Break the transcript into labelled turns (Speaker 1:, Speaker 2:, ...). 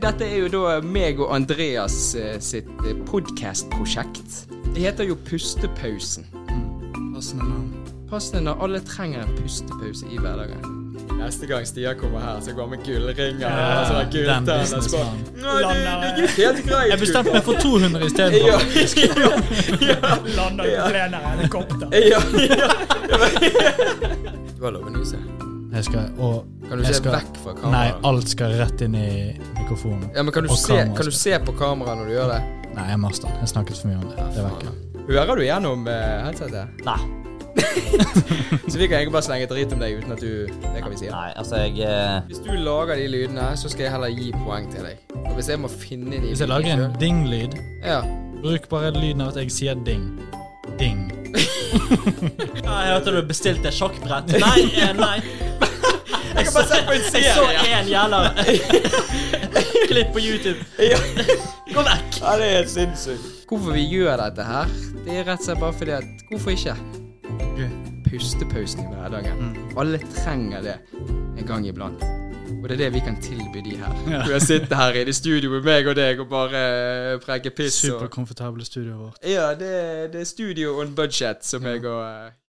Speaker 1: Dette er jo da meg og Andreas eh, sitt eh, podcast-prosjekt. Det heter jo Pustepausen.
Speaker 2: Passende navn.
Speaker 1: Passende når alle trenger en pustepause i hverdagen. Neste gang Stian kommer her, så går han med gullringer
Speaker 2: Ja, sånn gulltenn, den og så bare, businessmannen.
Speaker 3: Lander- det
Speaker 1: helt greit.
Speaker 2: Jeg bestemte meg for 200 istedenfor.
Speaker 3: Lander på
Speaker 1: Ja.
Speaker 3: plenen av helikopter.
Speaker 1: Du har lov å nyse.
Speaker 2: Jeg skal, og
Speaker 1: Kan du
Speaker 2: jeg
Speaker 1: se
Speaker 2: skal,
Speaker 1: vekk fra kameraet?
Speaker 2: Nei, alt skal rett inn i mikrofonen.
Speaker 1: Ja, men kan du,
Speaker 2: Og
Speaker 1: se,
Speaker 2: kameraet
Speaker 1: kan du
Speaker 2: skal-
Speaker 1: se på kameraet når du gjør det?
Speaker 2: Nei, jeg master. Jeg snakket for mye om det. Det var ikke
Speaker 1: Hører du gjennom eh, headsetet?
Speaker 4: Nei.
Speaker 1: Så vi kan egentlig bare slenge drit om deg uten at du Det kan vi si.
Speaker 4: Nei, altså, jeg eh,
Speaker 1: Hvis du lager de lydene, så skal jeg heller gi poeng til deg. Og hvis jeg må finne de
Speaker 2: Hvis jeg lager en ding-lyd,
Speaker 1: Ja.
Speaker 2: bruk bare lyden av at jeg sier ding. Ding.
Speaker 4: Jeg hørte du bestilte sjakkbrett. Nei, eh, nei. Jeg
Speaker 1: kan bare se på en
Speaker 4: Jeg så
Speaker 1: serie.
Speaker 4: en jævla klipp på YouTube. Gå vekk.
Speaker 1: Ja, det er helt sinnssykt. Hvorfor vi gjør dette her, det er rett og slett bare fordi at Hvorfor ikke? Pustepausen i hverdagen.
Speaker 2: Mm.
Speaker 1: Alle trenger det en gang iblant. Og det er det vi kan tilby de her.
Speaker 2: Ja.
Speaker 1: Hvor jeg sitter her i det studio med meg og deg og bare eh, preker piss og
Speaker 2: Superkomfortable studioet vårt.
Speaker 1: Ja, det, det er studio on budget som jeg og eh,